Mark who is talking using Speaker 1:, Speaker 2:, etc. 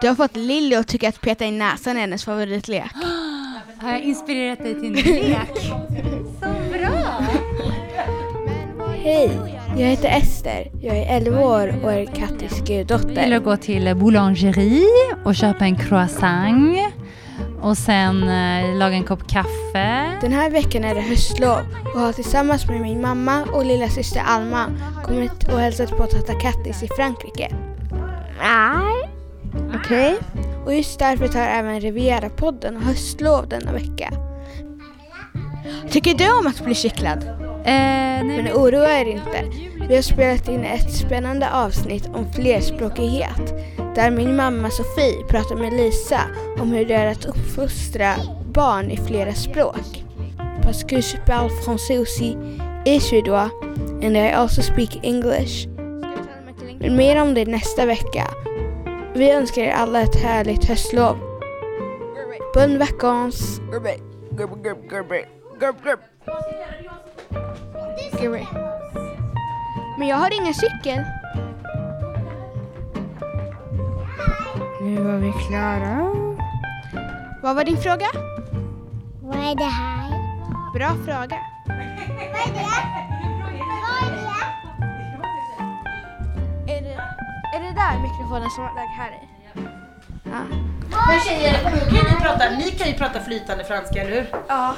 Speaker 1: Du har fått Lilly att tycka att peta i näsan är hennes favoritlek.
Speaker 2: Har jag inspirerat dig till en lek? Så bra!
Speaker 3: Hej, jag heter Ester. Jag är 11 år och är Kattis
Speaker 2: Jag gillar
Speaker 3: guddotter.
Speaker 2: att gå till boulangerie och köpa en croissant och sen eh, laga en kopp kaffe.
Speaker 3: Den här veckan är det höstlov och har tillsammans med min mamma och lilla syster Alma kommit och hälsat på Tata Kattis i Frankrike. Nej. Okej. Och just därför tar även Riviera-podden höstlov denna vecka.
Speaker 1: Tycker du om att bli kycklad?
Speaker 2: Eh, nej,
Speaker 3: Men oroa er inte. Vi har spelat in ett spännande avsnitt om flerspråkighet där min mamma Sofie pratar med Lisa om hur det är att uppfostra barn i flera språk. Parce que je parle français aussi et suédois and I also speak English. Men mer om det nästa vecka. Vi önskar er alla ett härligt höstlov. Bonne vacances!
Speaker 1: Men jag har ingen cykel.
Speaker 3: Nu var vi klara.
Speaker 1: Vad var din fråga?
Speaker 4: Vad är det här?
Speaker 1: Bra fråga.
Speaker 4: Vad är det? Vad är det?
Speaker 1: Är det, är det där mikrofonen som låg här i?
Speaker 5: Men tjejer, nu kan ju prata, ni kan ju prata flytande franska, eller hur?
Speaker 1: Ja.